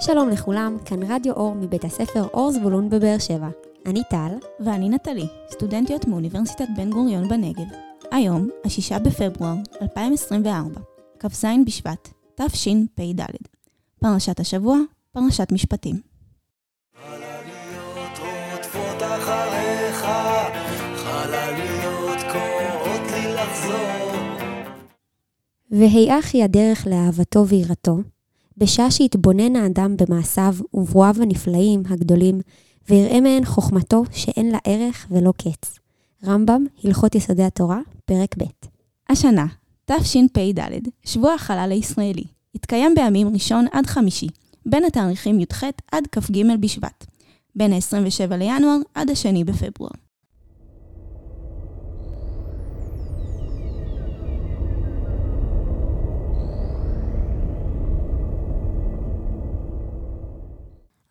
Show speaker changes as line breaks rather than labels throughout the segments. שלום לכולם, כאן רדיו אור מבית הספר אור זבולון בבאר שבע. אני טל,
ואני נטלי, סטודנטיות מאוניברסיטת בן גוריון בנגב. היום, השישה בפברואר 2024, כ"ז בשבט, תשפ"ד. פרשת השבוע, פרשת משפטים.
חלליות רודפות אחריך, חלליות קוראות לי לחזור.
והיאך היא הדרך לאהבתו ויראתו, בשעה שהתבונן האדם במעשיו וברואיו הנפלאים הגדולים, ויראה מהן חוכמתו שאין לה ערך ולא קץ. רמב"ם, הלכות יסודי התורה, פרק ב'.
השנה, תשפ"ד, שבוע החלל הישראלי, התקיים בימים ראשון עד חמישי, בין התאריכים י"ח עד כ"ג בשבט, בין ה-27 לינואר עד ה-2 בפברואר.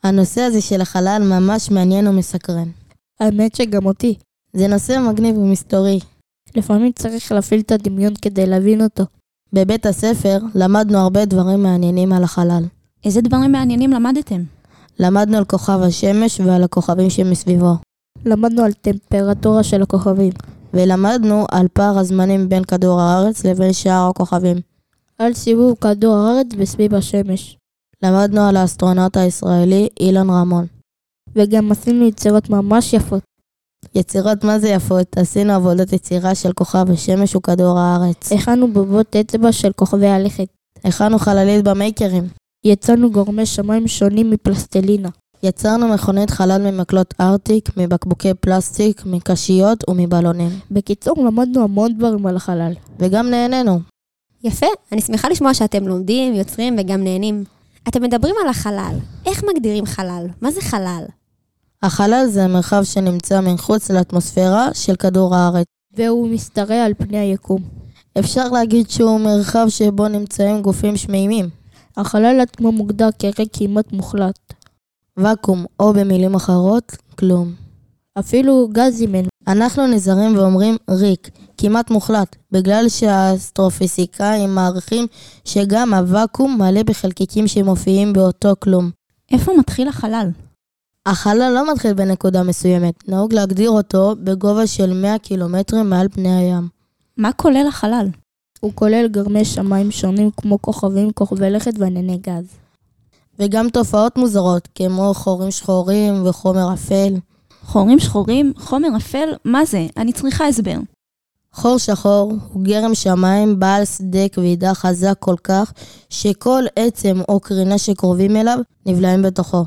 הנושא הזה של החלל ממש מעניין ומסקרן.
האמת שגם אותי.
זה נושא מגניב ומסתורי.
לפעמים צריך להפעיל את הדמיון כדי להבין אותו.
בבית הספר למדנו הרבה דברים מעניינים על החלל.
איזה דברים מעניינים למדתם?
למדנו על כוכב השמש ועל הכוכבים שמסביבו,
למדנו על טמפרטורה של הכוכבים,
ולמדנו על פער הזמנים בין כדור הארץ לבין שאר הכוכבים.
על סיבוב כדור הארץ וסביב השמש,
למדנו על האסטרונאוט הישראלי אילן רמון.
וגם עשינו יצירות ממש יפות.
יצירות מה זה יפות, עשינו עבודת יצירה של כוכב השמש וכדור הארץ.
הכנו בובות אצבע של כוכבי הלכת.
הכנו חללית במייקרים.
יצרנו גורמי שמיים שונים מפלסטלינה.
יצרנו מכונית חלל ממקלות ארטיק, מבקבוקי פלסטיק, מקשיות ומבלונים.
בקיצור, למדנו המון דברים על החלל.
וגם נהנינו.
יפה, אני שמחה לשמוע שאתם לומדים, יוצרים וגם נהנים. אתם מדברים על החלל. איך מגדירים חלל? מה זה חלל?
החלל זה המרחב שנמצא מחוץ לאטמוספירה של כדור הארץ.
והוא משתרע על פני היקום.
אפשר להגיד שהוא מרחב שבו נמצאים גופים שמימים,
החלל עצמו מוגדר כריק כמעט מוחלט.
ואקום, או במילים אחרות, כלום.
אפילו גזים אין.
אנחנו נזהרים ואומרים ריק, כמעט מוחלט, בגלל שהאסטרופיזיקאים מעריכים שגם הוואקום מלא בחלקיקים שמופיעים באותו כלום.
איפה מתחיל החלל?
החלל לא מתחיל בנקודה מסוימת, נהוג להגדיר אותו בגובה של 100 קילומטרים מעל פני הים.
מה כולל החלל?
הוא כולל גרמי שמיים שונים כמו כוכבים, כוכבי לכת וענני גז.
וגם תופעות מוזרות, כמו חורים שחורים וחומר אפל.
חורים שחורים? חומר אפל? מה זה? אני צריכה הסבר.
חור שחור הוא גרם שמיים בעל שדה כבידה חזק כל כך, שכל עצם או קרינה שקרובים אליו נבלעים בתוכו.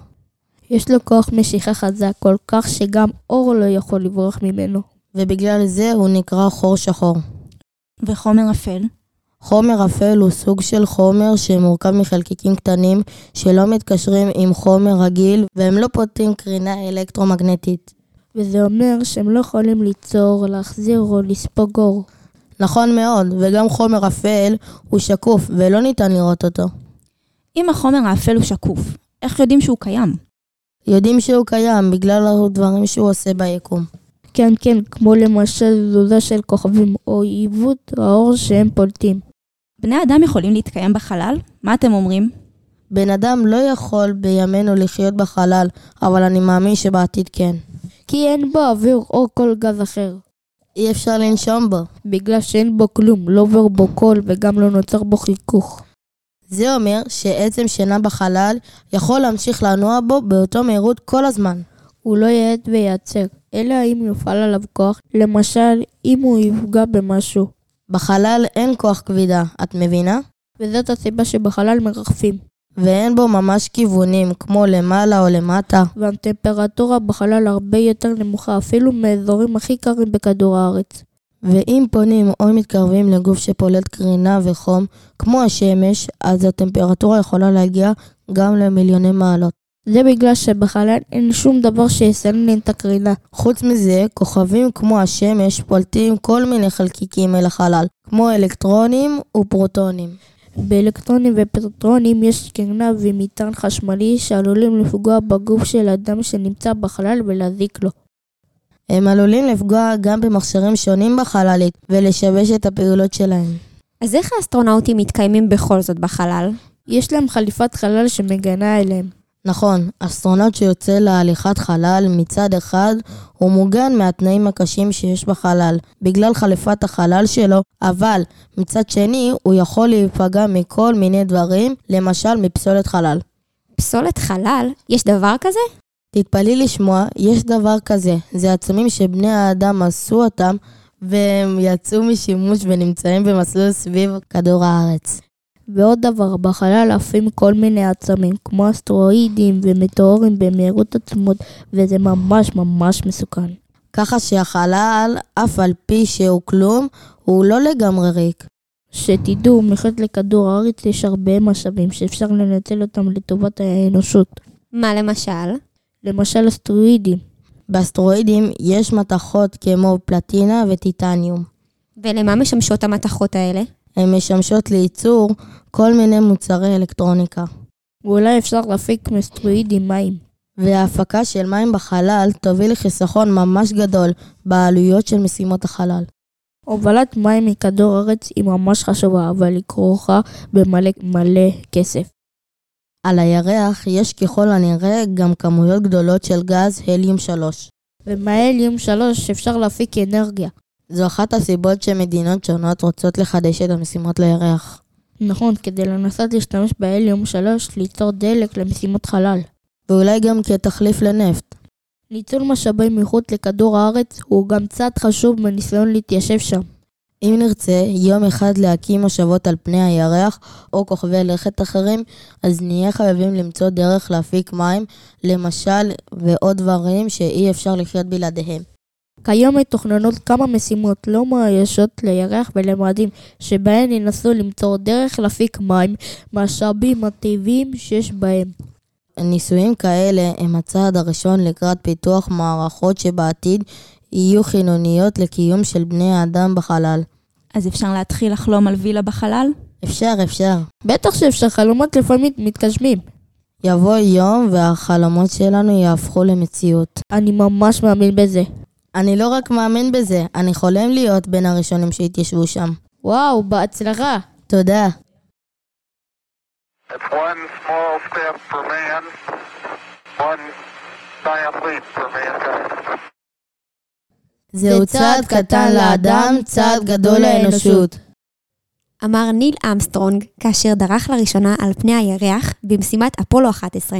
יש לו כוח משיכה חזק כל כך שגם אור לא יכול לברוח ממנו.
ובגלל זה הוא נקרא חור שחור.
וחומר אפל?
חומר אפל הוא סוג של חומר שמורכב מחלקיקים קטנים שלא מתקשרים עם חומר רגיל והם לא פותחים קרינה אלקטרומגנטית.
וזה אומר שהם לא יכולים ליצור, להחזיר או לספוג אור.
נכון מאוד, וגם חומר אפל הוא שקוף ולא ניתן לראות אותו.
אם החומר האפל הוא שקוף, איך יודעים שהוא קיים?
יודעים שהוא קיים בגלל הדברים שהוא עושה ביקום.
כן, כן, כמו למשל תזוזה של כוכבים או עיוות האור שהם פולטים.
בני אדם יכולים להתקיים בחלל? מה אתם אומרים?
בן אדם לא יכול בימינו לחיות בחלל, אבל אני מאמין שבעתיד כן.
כי אין בו אוויר או כל גז אחר.
אי אפשר לנשום בו.
בגלל שאין בו כלום, לא עובר בו קול וגם לא נוצר בו חיכוך.
זה אומר שעצם שינה בחלל יכול להמשיך לנוע בו באותו מהירות כל הזמן.
הוא לא יעט וייצר, אלא אם יופעל עליו כוח, למשל אם הוא יפגע במשהו.
בחלל אין כוח כבידה, את מבינה?
וזאת הסיבה שבחלל מרחפים,
ואין בו ממש כיוונים, כמו למעלה או למטה.
והטמפרטורה בחלל הרבה יותר נמוכה אפילו מאזורים הכי קרים בכדור הארץ.
ואם פונים או מתקרבים לגוף שפולט קרינה וחום, כמו השמש, אז הטמפרטורה יכולה להגיע גם למיליוני מעלות.
זה בגלל שבחלל אין שום דבר שיסנן את הקרינה.
חוץ מזה, כוכבים כמו השמש פולטים כל מיני חלקיקים אל החלל, כמו אלקטרונים ופרוטונים.
באלקטרונים ופרוטונים יש קרינה ומטען חשמלי שעלולים לפגוע בגוף של אדם שנמצא בחלל ולהזיק לו.
הם עלולים לפגוע גם במכשירים שונים בחללית ולשבש את הפעולות שלהם.
אז איך האסטרונאוטים מתקיימים בכל זאת בחלל?
יש להם חליפת חלל שמגנה אליהם.
נכון, אסטרונאוט שיוצא להליכת חלל מצד אחד הוא מוגן מהתנאים הקשים שיש בחלל בגלל חליפת החלל שלו, אבל מצד שני הוא יכול להיפגע מכל מיני דברים, למשל מפסולת חלל.
פסולת חלל? יש דבר כזה?
תתפלאי לשמוע, יש דבר כזה, זה עצמים שבני האדם עשו אותם והם יצאו משימוש ונמצאים במסלול סביב כדור הארץ.
ועוד דבר, בחלל עפים כל מיני עצמים, כמו אסטרואידים ומטאורים במהירות עצמות, וזה ממש ממש מסוכן.
ככה שהחלל, אף על פי שהוא כלום, הוא לא לגמרי ריק.
שתדעו, מחוץ לכדור הארץ יש הרבה משאבים שאפשר לנצל אותם לטובת האנושות.
מה למשל?
למשל אסטרואידים.
באסטרואידים יש מתכות כמו פלטינה וטיטניום.
ולמה משמשות המתכות האלה?
הן משמשות לייצור כל מיני מוצרי אלקטרוניקה.
ואולי אפשר להפיק מאסטרואידים מים.
וההפקה של מים בחלל תוביל לחיסכון ממש גדול בעלויות של משימות החלל.
הובלת מים מכדור הארץ היא ממש חשובה, אבל היא כרוכה במלא מלא כסף.
על הירח יש ככל הנראה גם כמויות גדולות של גז הליום 3.
ומההליום 3 אפשר להפיק אנרגיה.
זו אחת הסיבות שמדינות שונות רוצות לחדש את המשימות לירח.
נכון, כדי לנסות להשתמש בהליום 3 ליצור דלק למשימות חלל.
ואולי גם כתחליף לנפט.
ניצול משאבים מחוץ לכדור הארץ הוא גם צעד חשוב בניסיון להתיישב שם.
אם נרצה יום אחד להקים מושבות על פני הירח או כוכבי לכת אחרים, אז נהיה חייבים למצוא דרך להפיק מים, למשל, ועוד דברים שאי אפשר לחיות בלעדיהם.
כיום מתוכננות כמה משימות לא מאוישות לירח ולמאדים, שבהן ינסו למצוא דרך להפיק מים מהשאבים הטבעיים שיש בהם.
ניסויים כאלה הם הצעד הראשון לקראת פיתוח מערכות שבעתיד יהיו חיוניות לקיום של בני האדם בחלל.
אז אפשר להתחיל לחלום על וילה בחלל?
אפשר, אפשר.
בטח שאפשר, חלומות לפעמים מתגשמים.
יבוא יום והחלומות שלנו יהפכו למציאות.
אני ממש מאמין בזה.
אני לא רק מאמין בזה, אני חולם להיות בין הראשונים שהתיישבו שם.
וואו, בהצלחה.
תודה.
It's one small step for man, one giant leap for mankind.
זהו צעד קטן לאדם, צעד גדול לאנושות.
אמר ניל אמסטרונג כאשר דרך לראשונה על פני הירח במשימת אפולו 11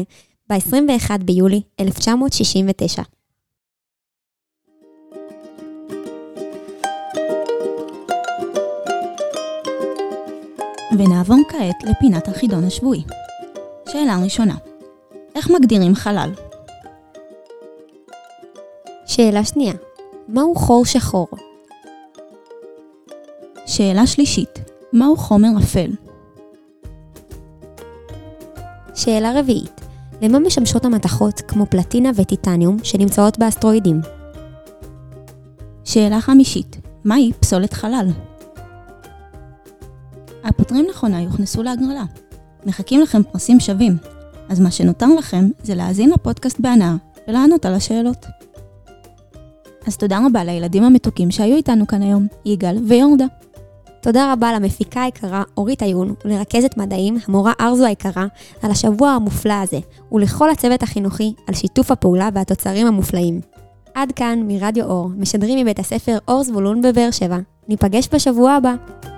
ב-21 ביולי 1969.
ונעבור כעת לפינת החידון השבועי. שאלה ראשונה, איך מגדירים חלל?
שאלה שנייה, מהו חור שחור?
שאלה שלישית, מהו חומר אפל?
שאלה רביעית, למה משמשות המתכות כמו פלטינה וטיטניום שנמצאות באסטרואידים?
שאלה חמישית, מהי פסולת חלל? הפותרים נכונה יוכנסו להגרלה. מחכים לכם פרסים שווים, אז מה שנותר לכם זה להאזין לפודקאסט בהנאה ולענות על השאלות. אז תודה רבה לילדים המתוקים שהיו איתנו כאן היום, יגאל ויורדה.
תודה רבה למפיקה היקרה אורית עיון ולרכזת מדעים המורה ארזו היקרה על השבוע המופלא הזה, ולכל הצוות החינוכי על שיתוף הפעולה והתוצרים המופלאים. עד כאן מרדיו אור, משדרים מבית הספר אור זבולון בבאר שבע. ניפגש בשבוע הבא.